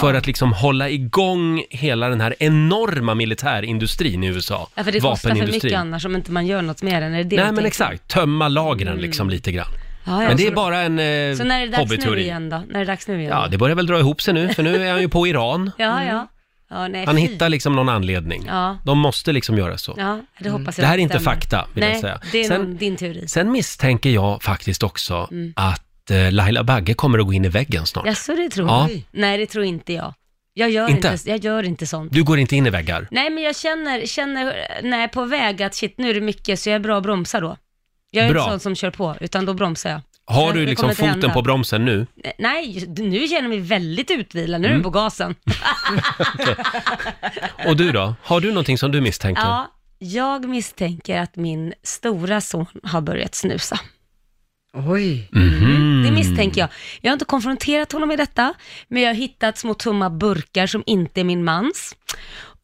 För att liksom hålla igång hela den här enorma militärindustrin i USA.
Ja, för det kostar för mycket
Vapenindustrin.
annars om inte man gör något med den. Är det det du
Nej men
tänker?
exakt, tömma lagren liksom lite grann.
Ja, ja,
men det
så-
är bara en eh,
Så när är det dags nu
hobbyteori.
igen då? När är det dags nu igen?
Ja, det börjar väl dra ihop sig nu, för nu är han ju på Iran.
ja, ja. ja nej,
Han
fy.
hittar liksom någon anledning.
Ja.
De måste liksom göra så.
Ja, det hoppas jag
Det här är inte
stämmer.
fakta, vill
nej,
jag säga.
det är
Sen-
någon, din teori.
Sen misstänker jag faktiskt också
Mm.
att eh, Laila Bagge kommer att gå in i väggen snart.
Jaså, det tror
Ja.
du? Nej, det tror inte jag. Jag gör
Inte?
inte, jag gör inte sånt.
Du går inte in i väggar.
Nej, men jag känner, känner eh, när jag är på väg att shit, nu är det mycket, så jag är bra att bromsa då. Jag är
Bra.
inte sån som kör på, utan då bromsar jag.
Har
Det-
du
det
liksom
kommer inte
foten
hända.
på bromsen nu?
Eh, Nej, just- nu känner jag mig väldigt utvilad. Nu är du på gasen.
Och du då? Har du någonting som du misstänker?
Ja, jag misstänker att min stora son har börjat snusa.
Oj.
Mm.
Det misstänker jag. Jag har inte konfronterat honom med detta, men jag har hittat små tomma burkar som inte är min mans.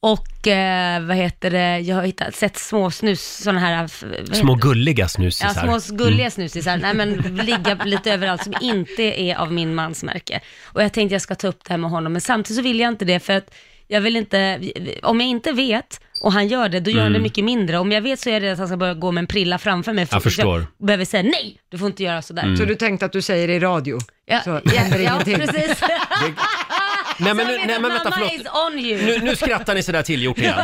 Och eh, vad heter det, jag har hittat, sett små snus, sådana här... f- vad heter
Små
det?
gulliga snusisar.
Ja, små gulliga
Mm.
snusisar. Nej, men ligga lite överallt som inte är av min mans märke. Och jag tänkte jag ska ta upp det här med honom, men samtidigt så vill jag inte det för att jag vill inte, om jag inte vet och han gör det, då gör han det mycket mindre. Om jag vet så är det att han ska börja gå med en prilla framför mig.
Mm. Jag förstår. Mm.
Jag behöver säga nej, du får inte göra sådär.
Så du tänkte att du säger i radio?
Ja,
så
ja,
händer
ja,
ingenting.
precis.
Nej men,
Så
nu,
vet
nej,
att
men vänta,
mamma
förlåt.
is on you.
Nu, nu skrattar ni sådär tillgjort igen.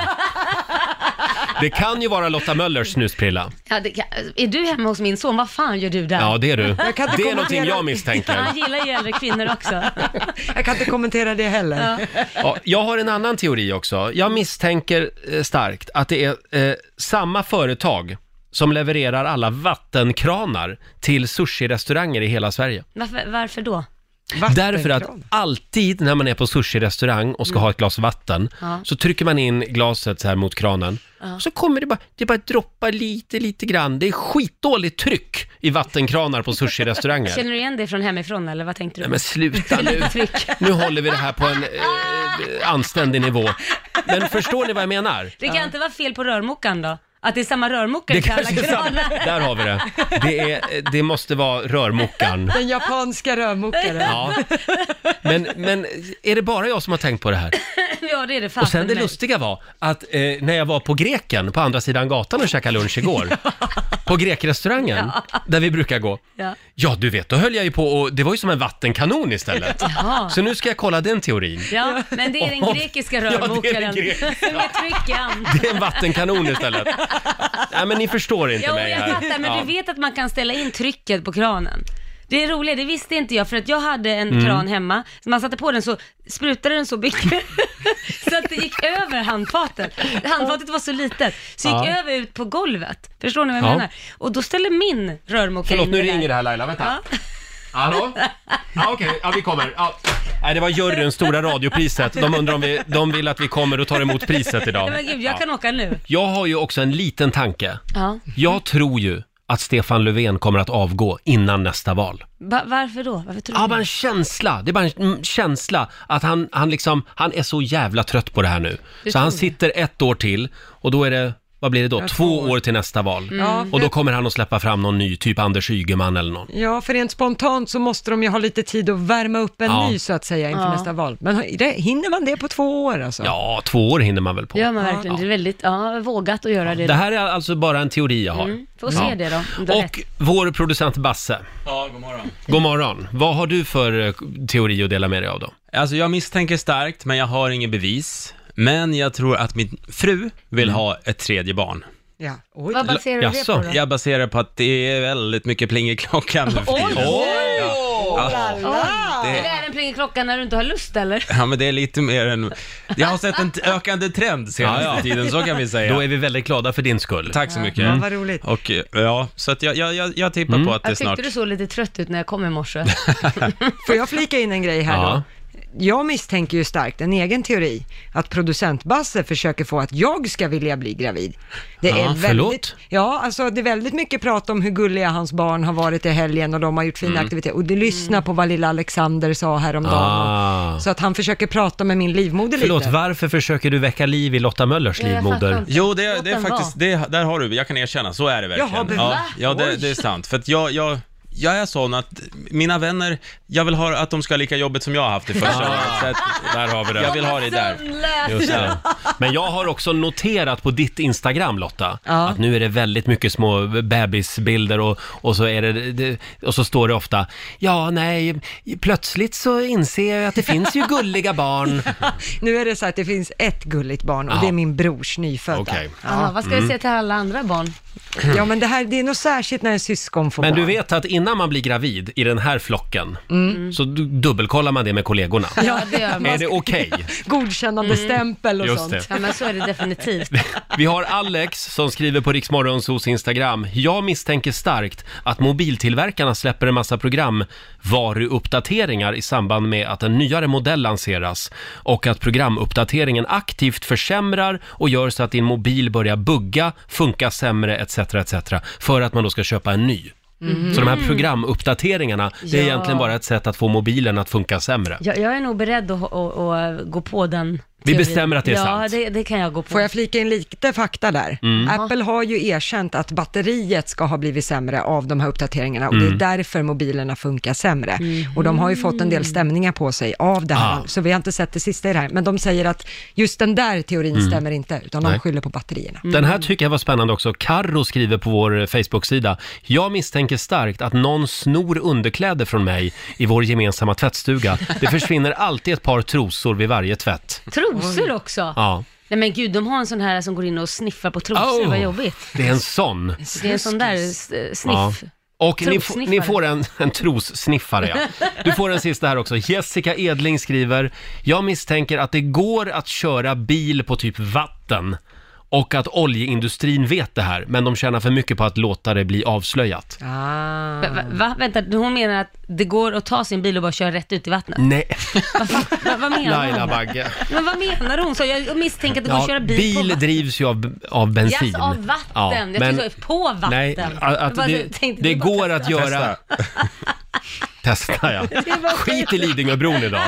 Det kan ju vara Lotta Möllers snusprilla.
Ja, det, kan- är du hemma hos min son? Vad fan gör du där?
Ja, det är du.
Jag kan
Det
inte
är
kommentera.
någonting jag misstänker.
Han gillar ju äldre kvinnor också.
Jag kan inte kommentera det heller.
Ja, jag har en annan teori också. Jag misstänker eh, starkt att det är eh, samma företag som levererar alla vattenkranar till sushi-restauranger i hela Sverige.
Varför, varför då?
Därför att
Vattenkran.
alltid när man är på sushi-restaurang och ska ha ett glas vatten
Mm. Ja.
så trycker man in glaset så här mot kranen. Så kommer det bara, det bara droppar lite, lite grann. Det är skitdåligt tryck i vattenkranar på sushi-restauranger.
Känner du igen det från hemifrån eller vad tänkte du?
Nej men sluta nu.
tryck.
Nu håller vi det här på en eh, anständig nivå. Men förstår ni vad jag menar?
Det kan inte vara fel på rörmokaren då? Att det är samma rörmokare
Det
till alla
kanske är sant.
kranar?
Där har vi det. Det, är, det måste vara rörmokaren.
Den japanska rörmokaren.
Ja. Men, men är det bara jag som har tänkt på det här?
Ja, det är det fan
Och sen det
med.
lustiga var att eh, när jag var på greken på andra sidan gatan och käkade lunch igår, på grekrestaurangen där vi brukar gå.
Ja.
Ja, du vet, då höll jag ju på och det var ju som en vattenkanon istället.
Jaha.
Så nu ska jag kolla den teorin.
Ja, men det är den grekiska rörmokaren.
Ja, det är den grekiska.
Med tryckan.
Det är en vattenkanon istället. Nej, men ni förstår inte
Ja,
mig
jag
här.
fattar, men
Ja.
du vet att man kan ställa in trycket på kranen. Det är roligt, det visste inte jag, för att jag hade en
Mm.
kran hemma, så man satte på den så sprutade den så mycket, så att det gick över handfatet. Handfatet var så litet, så gick
Ja.
över ut på golvet. Förstår ni vad jag
Ja.
menar? Och då ställer min rörmokare
Förlåt,
in
nu
det där.
ringer det här Laila. Vänta.
Ja.
Hallå? Ja, okej. Ja, vi kommer. Ja. Nej, det var juryns stora radiopriset. De undrar om vi, de vill att vi kommer och tar emot priset idag.
Nej, men gud, jag
Ja.
kan åka nu.
Jag har ju också en liten tanke.
Ja.
Jag tror ju att Stefan Löfven kommer att avgå innan nästa val.
Va- varför då? Varför tror
Ja,
du
bara en känsla. Det är bara en mm, känsla att han, han liksom, han är så jävla trött på det här nu. Så han sitter ett år till och då är det, vad blir det då? Två år till nästa val.
Ja,
Och då kommer han att släppa fram någon ny, typ Anders Ygeman eller någon.
Ja, för rent spontant så måste de ju ha lite tid att värma upp en
Ja.
ny så att säga inför nästa val. Men det, hinner man det på två år alltså?
Ja, två år hinner man väl på.
Gör man verkligen. Det är väldigt ja, vågat att göra det.
Det här är alltså bara en teori jag har.
Mm, Får se
Ja.
det då, om du har rätt.
Och vår producent Basse.
Ja, god morgon.
God morgon. Vad har du för eh, teori att dela med dig av då?
Alltså jag misstänker starkt, men jag har inget bevis. Men jag tror att min fru vill ha ett tredje barn.
Ja. Oj.
Vad baserar du det
Mm. Jaså?
på då?
Jag baserar på att det är väldigt mycket pling i klockan nu för tiden. Ja,
Det
det,
där den plingar klockan när du inte har lust eller?
ja, men det är lite mer än... Jag har sett en t- ökande trend senaste
Ja, ja.
tiden, så kan vi säga.
Då är vi väldigt glada för din skull.
Tack så mycket.
Mm.
Ja, vad roligt.
Och eh, ja, så att jag, jag, jag, jag tippar på att det
Jag
snart...
tyckte du såg lite trött ut när jag kom i morse.
Får jag flika in en grej här
Ja.
då? jag misstänker ju starkt, en egen teori, att producent Basse försöker få att jag ska vilja bli gravid. Det
Ja,
är väldigt,
förlåt?
Ja, alltså det är väldigt mycket prat om hur gulliga hans barn har varit i helgen och de har gjort fina
Mm.
aktiviteter. Och du lyssnar på vad lilla Alexander sa häromdagen.
Ah.
Och, så att han försöker prata med min livmoder
Förlåt,
lite.
varför försöker du väcka liv i Lotta Möllers
Ja, jag fattar
livmoder?
inte.
Jo, det,
Låt
det är
den
faktiskt, det, där har du, jag kan erkänna, så är det
Jaha,
verkligen.
men
ja,
va?
ja det,
Oj.
det är sant, för att jag, jag, jag är sån att mina vänner, jag vill ha att de ska ha lika jobbigt som jag har haft i första
Ja.
året. Så att, där har vi det. Jag vill ha det där.
Just det. Men jag har också noterat på ditt Instagram Lotta,
Ja.
att nu är det väldigt mycket små bebisbilder och, och, så är det- det, och så står det ofta Ja, nej, plötsligt så inser jag att det finns ju gulliga barn.
nu är det så att det finns ett gulligt barn och
Ja.
det är min brors nyfödda.
Okej.
Jaha, vad ska vi säga till alla andra barn?
Ja, men det här, det är nog särskilt när en syskon får
Men
barn.
du vet att innan man blir gravid i den här flocken
Mm.
så du- dubbelkollar man det med kollegorna.
Ja, det gör man.
är det okej?
Godkännande stämpel och
Just
sånt.
det.
Ja, men så är det definitivt.
Vi har Alex som skriver på Riksmorgonsos Instagram. Jag misstänker starkt att mobiltillverkarna släpper en massa programvaruuppdateringar i samband med att en nyare modell lanseras och att programuppdateringen aktivt försämrar och gör så att din mobil börjar bugga, funka sämre etc. etc. för att man då ska köpa en ny.
Mhm.
Så de här programuppdateringarna, det är
Ja.
egentligen bara ett sätt att få mobilen att funka sämre.
Jag, jag är nog beredd att, att, att gå på den
Vi bestämmer att det är
ja,
sant.
Ja, det, det kan jag gå på.
Får jag flika in lite fakta där?
Mm.
Apple har ju erkänt att batteriet ska ha blivit sämre av de här uppdateringarna och
Mm.
det är därför mobilerna funkar sämre. Och de har ju fått en del stämningar på sig av det här,
Ah.
så vi har inte sett det sista i det här. Men de säger att just den där teorin
Mm.
stämmer inte, utan
Nej.
de skyller på batterierna.
Mm.
Den här tycker jag var spännande också. Karro skriver på vår eh, Facebook-sida. Jag misstänker starkt att någon snor underkläder från mig i vår gemensamma tvättstuga. Det försvinner alltid ett par trosor vid varje tvätt.
Trosor också?
Ja,
Nej men gud, de har en sån här som går in och sniffar på trosor,
Oh.
vad jobbigt.
det är en sån.
Det är en sån där eh, sniff.
Ja. Och ni, f-
Trossniffare.
ni får en, en trossniffare, ja. Du får en sista här också. Jessica Edling skriver, jag misstänker att det går att köra bil på typ vatten och att oljeindustrin vet det här, men de tjänar för mycket på att låta det bli avslöjat.
Va, va, va? Vänta, hon menar att det går att ta sin bil och bara köra rätt ut i vattnet?
Nej.
Va, vad menar
Laila
hon?
Bagge.
Men vad menar hon? Så jag misstänker att det går att köra bil, på vatten.
drivs ju av, av bensin.
Jaså, av vatten. jag tyckte det var på vatten.
Nej, a-
Jag
att
bara
det,
tänkte,
det
är bara
går att
testa.
göra... Testa, ja.
Det är bara att
Skit i Lidingöbron idag.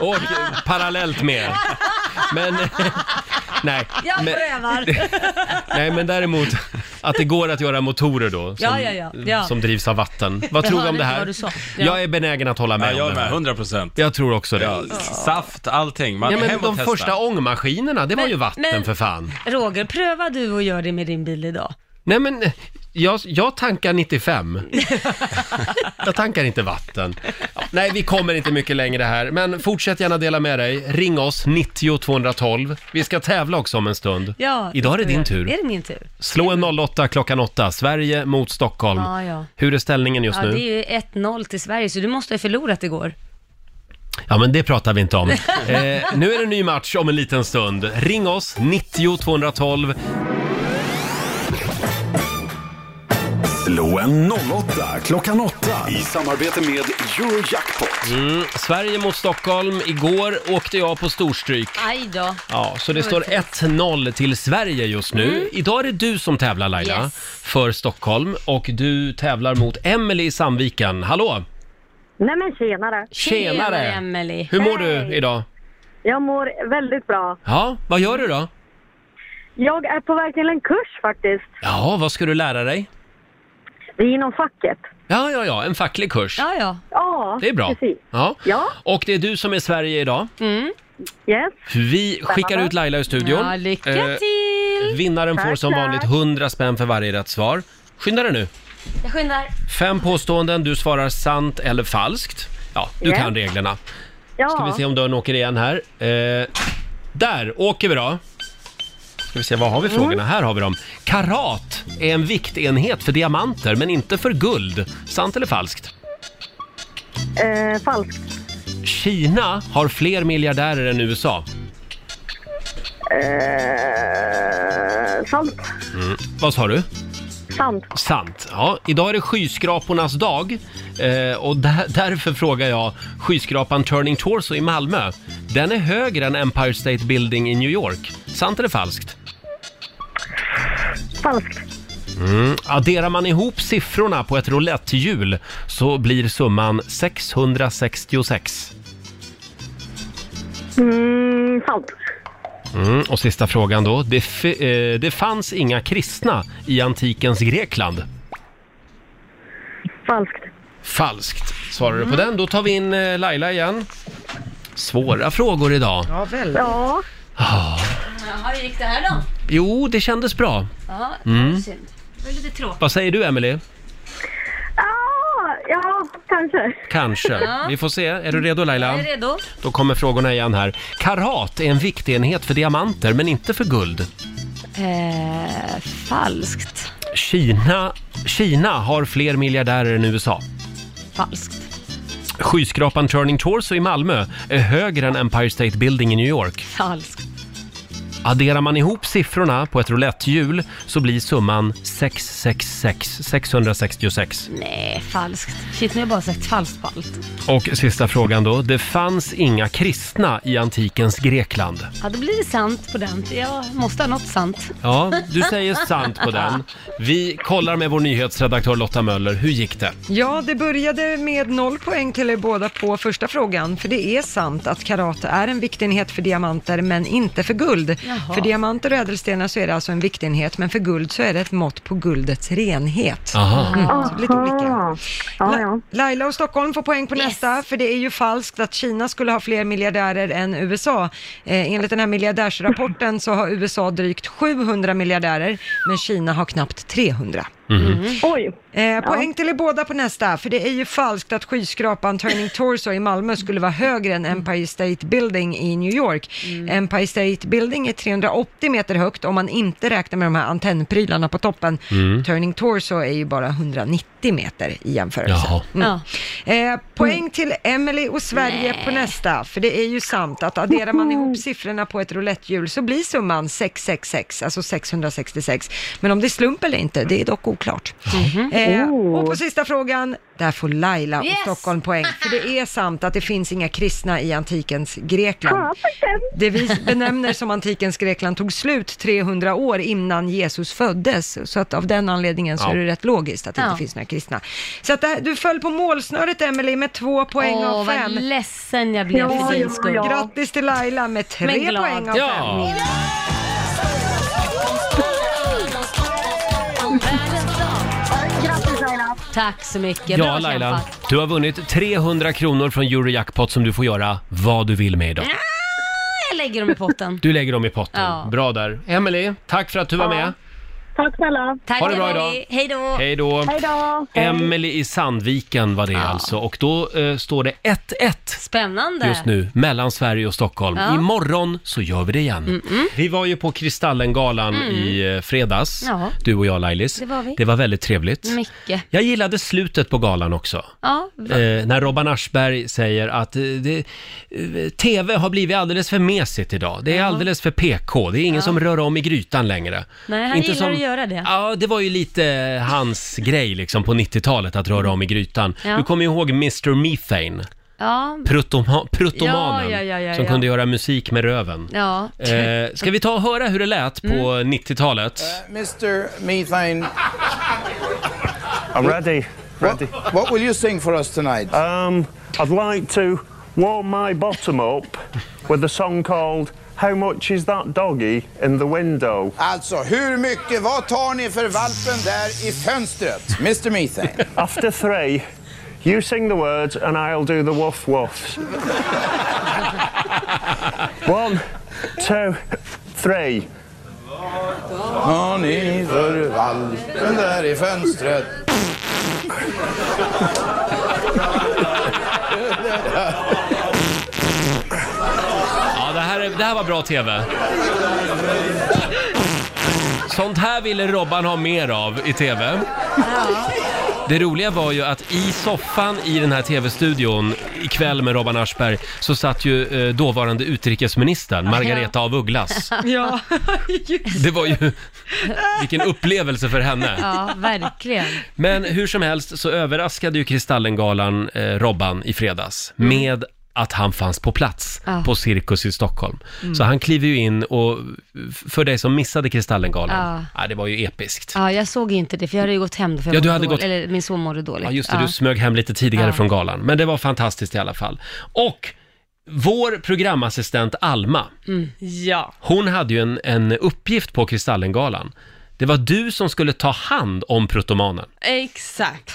Och eh, parallellt med. Men... Nej.
Jag
men,
prövar.
nej, men däremot att det går att göra motorer då som,
Ja, ja, ja, ja.
som drivs av vatten. Vad
Jag
tror du om det
hörde inte
här?
vad du sa. Ja.
Jag är benägen att hålla med
Ja, jag
om det här.
med, 100%.
Jag tror också det.
Saft, allting. Man,
Ja, men
hem och
de
testa.
första ångmaskinerna, det var
Men-
ju vatten
men-
för fan.
Roger, pröva du och gör det med din bil idag.
Nej men, eh, jag, jag tankar 95. jag tankar inte vatten. Ja, Nej, vi kommer inte mycket längre här, men fortsätt gärna dela med dig. Ring oss, 90 212. Vi ska tävla också om en stund.
Ja,
Idag är det
ska vi
din
göra.
tur.
Är det min tur?
Slå en 08 klockan 8, Sverige mot Stockholm.
Ja, ja.
Hur är ställningen just
ja,
nu?
det är ju 1-0 till Sverige, så du måste ha förlorat igår.
Ja, men det pratar vi inte om. eh, nu är det en ny match om en liten stund. Ring oss, 90 212.
Slå en 08 klockan 8 i samarbete med Eurojackpot.
Mm, Sverige mot Stockholm. Igår åkte jag på storstryk.
Aj då.
Ja, så det står 1-0 till Sverige just nu. Idag är det du som tävlar Laila,
Mm. Yes.
för Stockholm. Och du tävlar mot Emelie i Sandviken. Hallå!
Nej men tjenare!
Tjenare!
Emelie.
Hur mår du idag?
Jag mår väldigt bra.
Ja, vad gör du då?
Jag är på väg till en kurs faktiskt.
Ja, vad ska du lära dig?
Det är inom facket.
Ja, ja, ja, en facklig kurs.
Ja, ja.
Ja,
Det är bra.
Precis.
Ja.
Ja.
Och det är du som är Sverige idag.
Mm.
Yes.
Vi skickar ut Laila ur studion.
Ja, lycka
Eh,
till!
vinnaren får
Tack,
som
tack.
vanligt 100 spänn för varje rätt svar. Skynda dig nu!
Jag skyndar.
Fem påståenden, du svarar sant eller falskt. Ja, du
Ja.
kan reglerna.
Ja.
Ska vi se om dörren åker igen här. Eh, där åker vi då. Ska vi se, vad har vi frågorna? Här har vi dem. Karat är en viktenhet för diamanter, men inte för guld. Sant eller falskt?
Eh, falskt.
Kina har fler miljardärer än USA.
Eh, sant. Eh,
Mm. Vad sa du?
Sant.
Sant. Ja, idag är det skyskrapornas dag eh, och där, därför frågar jag skyskrapan Turning Torso i Malmö. Den är högre än Empire State Building i New York. Sant eller falskt?
Falskt.
Mm. Adderar man ihop siffrorna på ett roulettehjul så blir summan 666.
Mm, sant.
Mm. Och sista frågan då. Det, fi- eh, det fanns inga kristna i antikens Grekland.
Falskt.
Falskt svarar du på den. Då tar vi in eh, Laila igen. Svåra frågor idag.
Ja, väldigt.
Ja.
Ah.
Jaha, hur gick det här då?
Jo, det kändes bra.
Ja,
Mm.
synd. Det var lite tråkigt.
Vad säger du, Emily?
Ja, ja, kanske.
Kanske.
Ja.
Vi får se. Är du redo Laila?
Jag är redo.
Då kommer frågorna igen här. Karat är en viktenhet för diamanter, men inte för guld.
Eh, falskt.
Kina, Kina har fler miljardärer än USA.
Falskt.
Skyskrapan Turning Torso i Malmö är högre än Empire State Building i New York.
Falskt.
Adderar man ihop siffrorna på ett roulettehjul så blir summan 666, 666.
Nej, falskt. Shit, nu har jag bara sagt falskt på allt.
Och sista frågan då. Det fanns inga kristna i antikens Grekland.
Ja, då blir det sant på den. Jag måste ha något sant.
Ja, du säger sant på den. Vi kollar med vår nyhetsredaktör Lotta Möller. Hur gick det?
Ja, det började med noll poäng till er båda på första frågan, för det är sant att karat är en viktenhet för diamanter, men inte för guld.
Jaha.
För diamanter och ädelstenar så är det alltså en viktenhet, men för guld så är det ett mått på guldets renhet.
Aha.
Mm, så lite olika.
Ja,
La- Laila och Stockholm får poäng på nästa, för det är ju falskt att Kina skulle ha fler miljardärer än USA. Eh, enligt den här miljardärsrapporten så har USA drygt 700 miljardärer, men Kina har knappt 300.
Oj.
Eh, poäng till er båda på nästa, för det är ju falskt att skyskrapan Turning Torso i Malmö skulle vara högre än Empire State Building i New York. Empire State Building är 380 meter högt om man inte räknar med de här antennprylarna på toppen.
Mm.
Turning Torso är ju bara 190 meter i jämförelse.
Jaha.
Mm. Eh, poäng till Emily och Sverige på nästa, för det är ju sant att adderar man ihop siffrorna på ett roulettehjul så blir summan 666, alltså 666. Men om det är slump eller inte, det är dock oklart. Eh, och på sista frågan, där får Laila
Yes!
och Stockholm poäng, för det är sant att det finns inga kristna i antikens Grekland. Det vi benämner som antikens Grekland tog slut 300 år innan Jesus föddes, så att av den anledningen så
Ja.
är det rätt logiskt att det
Ja.
inte finns några kristna. Så att det, här- du föll på målsnöret Emelie med två poäng
Åh,
av
vad
fem.
ledsen jag blev för din skull.
Grattis till Laila med
Men
tre
glad.
poäng av
Ja.
fem.
Grattis Laila.
Tack så mycket.
Ja, Laila. Du har vunnit 300 kronor från Eurojackpot som du får göra vad du vill med idag.
Ah, Jag lägger dem i potten.
Du lägger dem i potten.
Ja.
Bra där. Emelie, tack för att du var med.
Tack snälla.
Tack
Ha det bra
Emily.
idag.
Hej då.
Hej då.
Hej då.
Emelie i Sandviken var det alltså. Och då eh, står det 1-1
Spännande.
just nu mellan Sverige och Stockholm.
Ja.
Imorgon så gör vi det igen. Vi var ju på Kristallengalan
Mm.
i eh, fredags,
Ja.
du och jag Lailis.
Det var vi.
Det var väldigt trevligt.
Mycket.
Jag gillade slutet på galan också.
Ja, va-
Eh, när Robban Aschberg säger att eh, det, eh, TV har blivit alldeles för mesigt idag. Det är alldeles för PK. Det är ingen
Ja.
som rör om i grytan längre.
Nej, han gillar att göra det.
Ja, det var ju lite hans grej liksom på 90-talet att röra om i grytan.
Ja.
Du kommer ju ihåg Mr Methane,
ja.
prutoma- prutomanen
Ja, ja, ja, ja,
som
ja.
kunde göra musik med röven.
ja. Mm.
Eh, ska vi ta och höra hur det lät på 90-talet?
Mr. Methane. I'm ready. Ready. What, what will you sing for us tonight? Um, I'd like to warm my bottom up with a song called How much is that doggy in the window?
Alltså, hur mycket, vad tar ni för valpen där i fönstret?
Mr. Methane. After three, you sing the words and I'll do the woof woofs. One, two, three.
Har ni för valpen där i fönstret?
Ja, det här, är- det här var bra TV. Sånt här ville Robban ha mer av i TV. Det roliga var ju att i soffan i den här tv-studion ikväll med Robban Aschberg så satt ju eh, dåvarande utrikesministern Margareta af Ugglas.
Ja.
Det var ju... Vilken upplevelse för henne.
Ja, verkligen.
Men hur som helst så överraskade ju Kristallengalan eh, Robban i fredags
Mm.
med att han fanns på plats
Ah.
Ja.
på Cirkus i Stockholm.
Mm.
Så han kliver ju in och f- för dig som missade
Ah.
Kristallengalan,
Ja.
ja. det var ju episkt.
Ja, jag såg ju inte det, för jag hade ju gått hem då, för jag
Ja, du
mådde
hade
dåligt,
gått-
eller min son mådde dåligt.
Ja, just det,
ah.
du smög hem lite tidigare
Ja.
från galan. Men det var fantastiskt i alla fall. Och vår programassistent Alma,
Mm.
Ja.
hon hade ju en, en uppgift på Kristallengalan. Det var du som skulle ta hand om protomanen.
Exakt.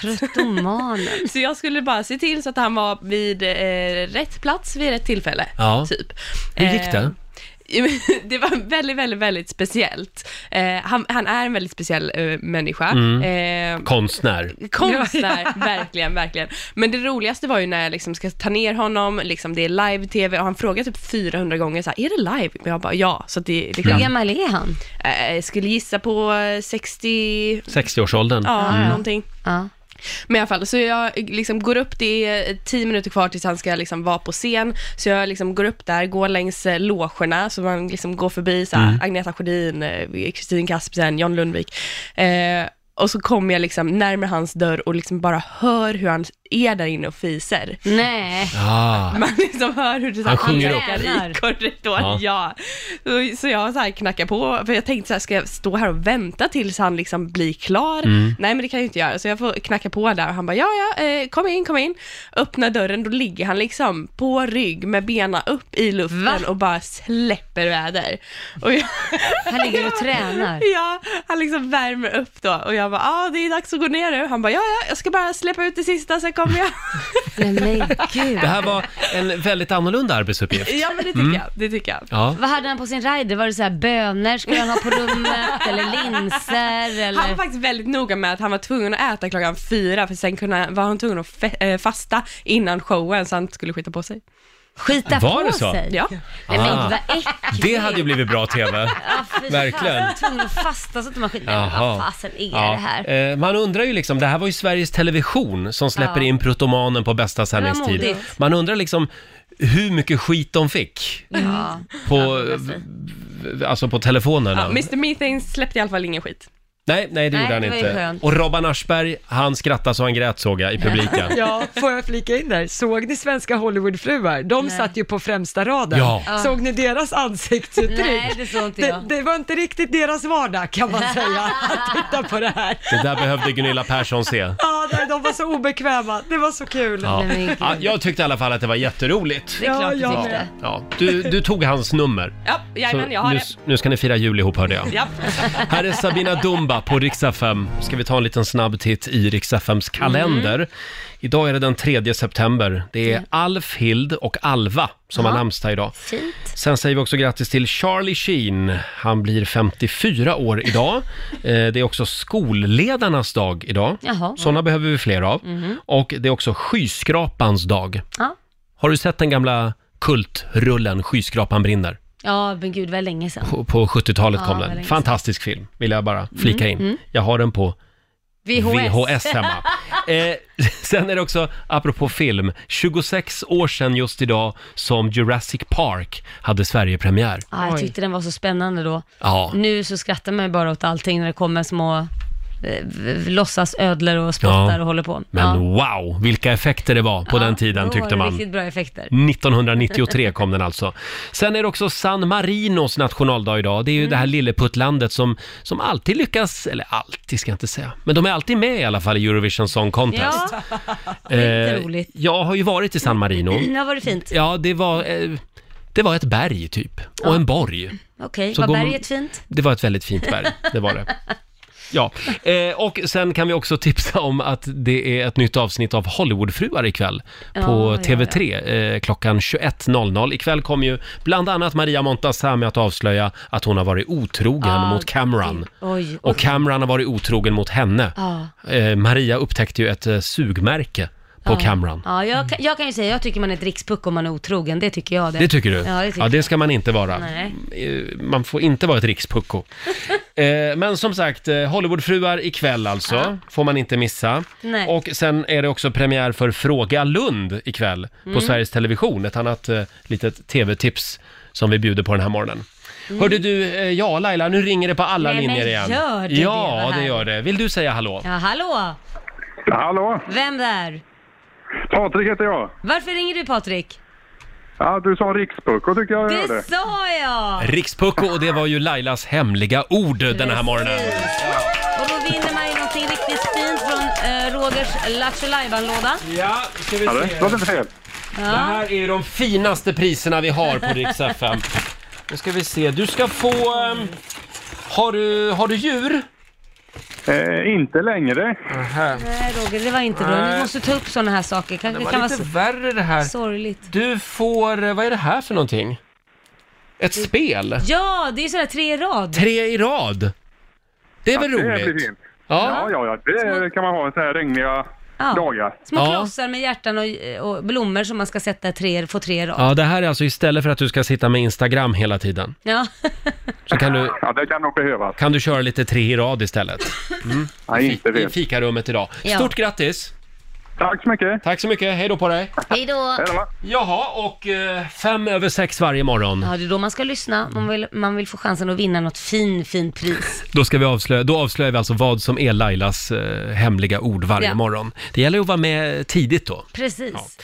Protomanen.
så jag skulle bara se till så att han var vid eh, rätt plats vid rätt tillfälle.
Ja.
Typ.
Hur gick det?
Eh, det var väldigt, väldigt, väldigt speciellt. Eh, han, han är en väldigt speciell eh, människa.
Mm.
Eh,
Konstnär.
Konstnär, verkligen, verkligen. Men det roligaste var ju när jag liksom ska ta ner honom, liksom det är live-tv och han frågar typ 400 gånger så här, är det live? Och jag bara ja. Så att det, är liksom,
Hur gammal är han?
Eh, jag skulle gissa på eh, 60,
60-årsåldern.
ja,
Mm.
någonting. Men i alla fall, så jag liksom går upp, det är 10 minuter kvar tills han ska liksom vara på scen, så jag liksom går upp där, går längs eh, logerna, så man liksom går förbi så här,
Mm.
Agneta Sjödin, eh, Kristin Kaspersen, John Lundvik. Eh, och så kommer jag liksom närmare hans dörr och liksom bara hör hur han är där inne och fiser.
Nej.
Ah.
Man liksom hör hur det så
Han
här
sjunger
ekar
upp.
i
Ja.
korridoren. Ja. Så, så jag så här knackar på, för jag tänkte så här, ska jag stå här och vänta tills han liksom blir klar?
Mm.
Nej men det kan jag ju inte göra, så jag får knacka på där och han bara ja ja, eh, kom in, kom in. Öppnar dörren, då ligger han liksom på rygg med benen upp i luften och bara släpper väder. Och jag,
Han ligger och tränar.
Ja, han liksom värmer upp då och jag bara ja ah, det är dags att gå ner nu. Han bara ja ja, jag ska bara släppa ut det sista, sen kommer jag.
Nej men gud.
Det här var en väldigt annorlunda arbetsuppgift.
Ja men det tycker
Mm.
jag, det tycker jag.
Ja.
Vad hade han på sin rider? Var det så här bönor skulle han ha på rummet eller linser eller?
Han var faktiskt väldigt noga med att han var tvungen att äta klockan fyra för sen kunde, han- var han tvungen att fe- eh, fasta innan showen så han inte skulle skita på sig.
Skita
Var på det så? sig?
Ja.
Nej, men Ah. vad
äckligt.
Det hade ju blivit bra TV. Verkligen.
Fan, tvungen att fasta så att man skiter Nej, men vad fasen är
Ja.
det här?
Eh, Man undrar ju liksom, det här var ju Sveriges Television som släpper
Ja.
in Protomanen på bästa
var
sändningstid.
modigt.
Man undrar liksom hur mycket skit de fick
Ja.
på, alltså på telefonerna.
Ja, Mr Methane släppte i alla fall ingen skit.
Nej, nej det
Nej,
gjorde han
det var ju
inte.
skönt.
Och Robban Aschberg, han skrattade så han grät såg jag i publiken.
Ja, får jag flika in där? Såg ni svenska Hollywoodfruar? De satt ju på främsta raden.
Ja. Ja.
Såg ni deras ansiktsuttryck?
Nej, det såg inte jag.
Det, det var inte riktigt deras vardag kan man säga, att titta på det här.
Det där behövde Gunilla Persson se.
Ja, nej, de var så obekväma. Det var så kul.
Ja. Ja, jag tyckte i alla fall att det var jätteroligt.
Det är klart du Ja, jag tyckte.
ja.
med.
Du, du tog hans nummer.
Ja,
Så
jajamän, jag har
nu,
det.
nu ska ni fira jul ihop hörde jag.
Ja.
Här är Sabina Dumba på Rix FM. Ska vi ta en liten snabb titt i Rix FMs kalender.
Mm.
Idag är det den 3 september. Det är Alfhild och Alva som har namnsdag idag.
Fint.
Sen säger vi också grattis till Charlie Sheen. Han blir 54 år idag. Eh, Det är också skolledarnas dag idag.
Jaha.
Sådana behöver vi fler av.
Mhm.
Och det är också skyskrapans dag.
Ja.
Har du sett den gamla kultrullen Skyskrapan brinner?
ja, men gud vad länge sedan.
På- På 70-talet
Ja,
kom
vad länge
den.
sedan.
Fantastisk film, vill jag bara flika
Mm,
in.
mm.
Jag har den på
VHS.
VHS hemma. Eh, sen är det också, apropå film, 26 år sedan just idag som Jurassic Park hade Sverigepremiär.
Ja, jag tyckte den var så spännande då.
Ja.
Nu så skrattar man ju bara åt allting när det kommer små eh, låtsasödlor och spottar
Ja.
och håller på.
Men
ja.
wow, vilka effekter det var på den tiden
Då var
tyckte
det
man.
Riktigt bra effekter.
1993 kom den alltså. Sen är det också San Marinos nationaldag idag. Det är ju det
Mm.
här lilleputtlandet som, som alltid lyckas, eller alltid ska jag inte säga, men de är alltid med i alla fall i Eurovision Song Contest.
Ja, det är inte roligt.
Eh, jag har ju varit i San Marino.
Ja, var det fint?
Ja, det var, eh, det var ett berg typ, och en borg.
Okej,
Så
var
går man-
berget fint?
Det var ett väldigt fint berg, det var det. Ja, eh, och sen kan vi också tipsa om att det är ett nytt avsnitt av Hollywoodfruar ikväll på
Ja, ja,
TV3 Eh, klockan 21.00. Ikväll kommer ju bland annat Maria Montazami att avslöja att hon har varit otrogen
Ja,
mot Cameron.
Oj.
Och Cameron har varit otrogen mot henne.
Ja.
Eh, Maria upptäckte ju ett eh, sugmärke på Camran.
Ja, jag, kan- jag kan ju säga, jag tycker man är ett rikspuck om man är otrogen. Det tycker jag det.
Det tycker du?
Ja, det tycker
ja, det ska man inte vara.
Nej.
Eh, Man får inte vara ett rikspucko. Eh, Men som sagt, eh, Hollywoodfruar ikväll alltså.
Ja.
Får man inte missa.
Nej.
Och sen är det också premiär för Fråga Lund ikväll på
Mm.
Sveriges Television. Ett annat eh, litet tv-tips som vi bjuder på den här morgonen. Hörde du, eh, ja Laila, nu ringer det på alla
Mm. Nej, men
linjer igen.
gör det det?
ja,
Vad
det, gör
härligt.
det. Vill du säga hallå?
Ja, hallå!
Hallå,
Vem där?
Patrik heter jag.
Varför ringer du Patrik?
Ja, du sa rikspucko tycker jag jag hörde.
Det sa jag!
Rikspucko och det var ju Lailas hemliga ord den här morgonen.
Och då vinner man ju någonting riktigt fint från eh, Rogers Lattjo Lajban-låda.
Ja, ska vi
Ja, det låter inte fel.
Det här är ju de finaste priserna vi har på Rix FM. Nu ska vi se, du ska få... ehm, Har du, har du djur?
Eh, inte längre.
Nej Roger, det var inte bra.
Nej.
Du måste ta upp sådana här saker. Kanske,
Det
det
var
kan vara
lite
så-
värre det här.
sorgligt.
Du får... eh, Vad är det här för någonting? Ett
Mm.
spel?
Ja, det är sådär tre i rad.
Tre i rad! Det är väl
Ja, det blir
roligt?
fint.
Ja.
Ja, ja, ja. Det kan man ha en sån här regniga
Ja.
dagar.
Små klossar med hjärtan och, och blommor som man ska sätta tre, få tre i rad.
Ja, det här är alltså istället för att du ska sitta med Instagram hela tiden.
Ja.
Så kan du,
Ja, det kan nog behövas.
kan du köra lite tre i rad istället. Mm.
Nej, inte
I fikarummet idag.
Ja.
Stort grattis!
Tack så mycket!
Tack så mycket, hej då på dig!
Hej då!
Jaha, och eh, fem över sex varje morgon.
Ja, det är då man ska lyssna. Man vill, man vill få chansen att vinna något fin, fin pris.
Då, ska vi avslöja, då avslöjar vi alltså vad som är Lailas eh, hemliga ord varje
Ja.
morgon. Det gäller ju att vara med tidigt då.
Precis.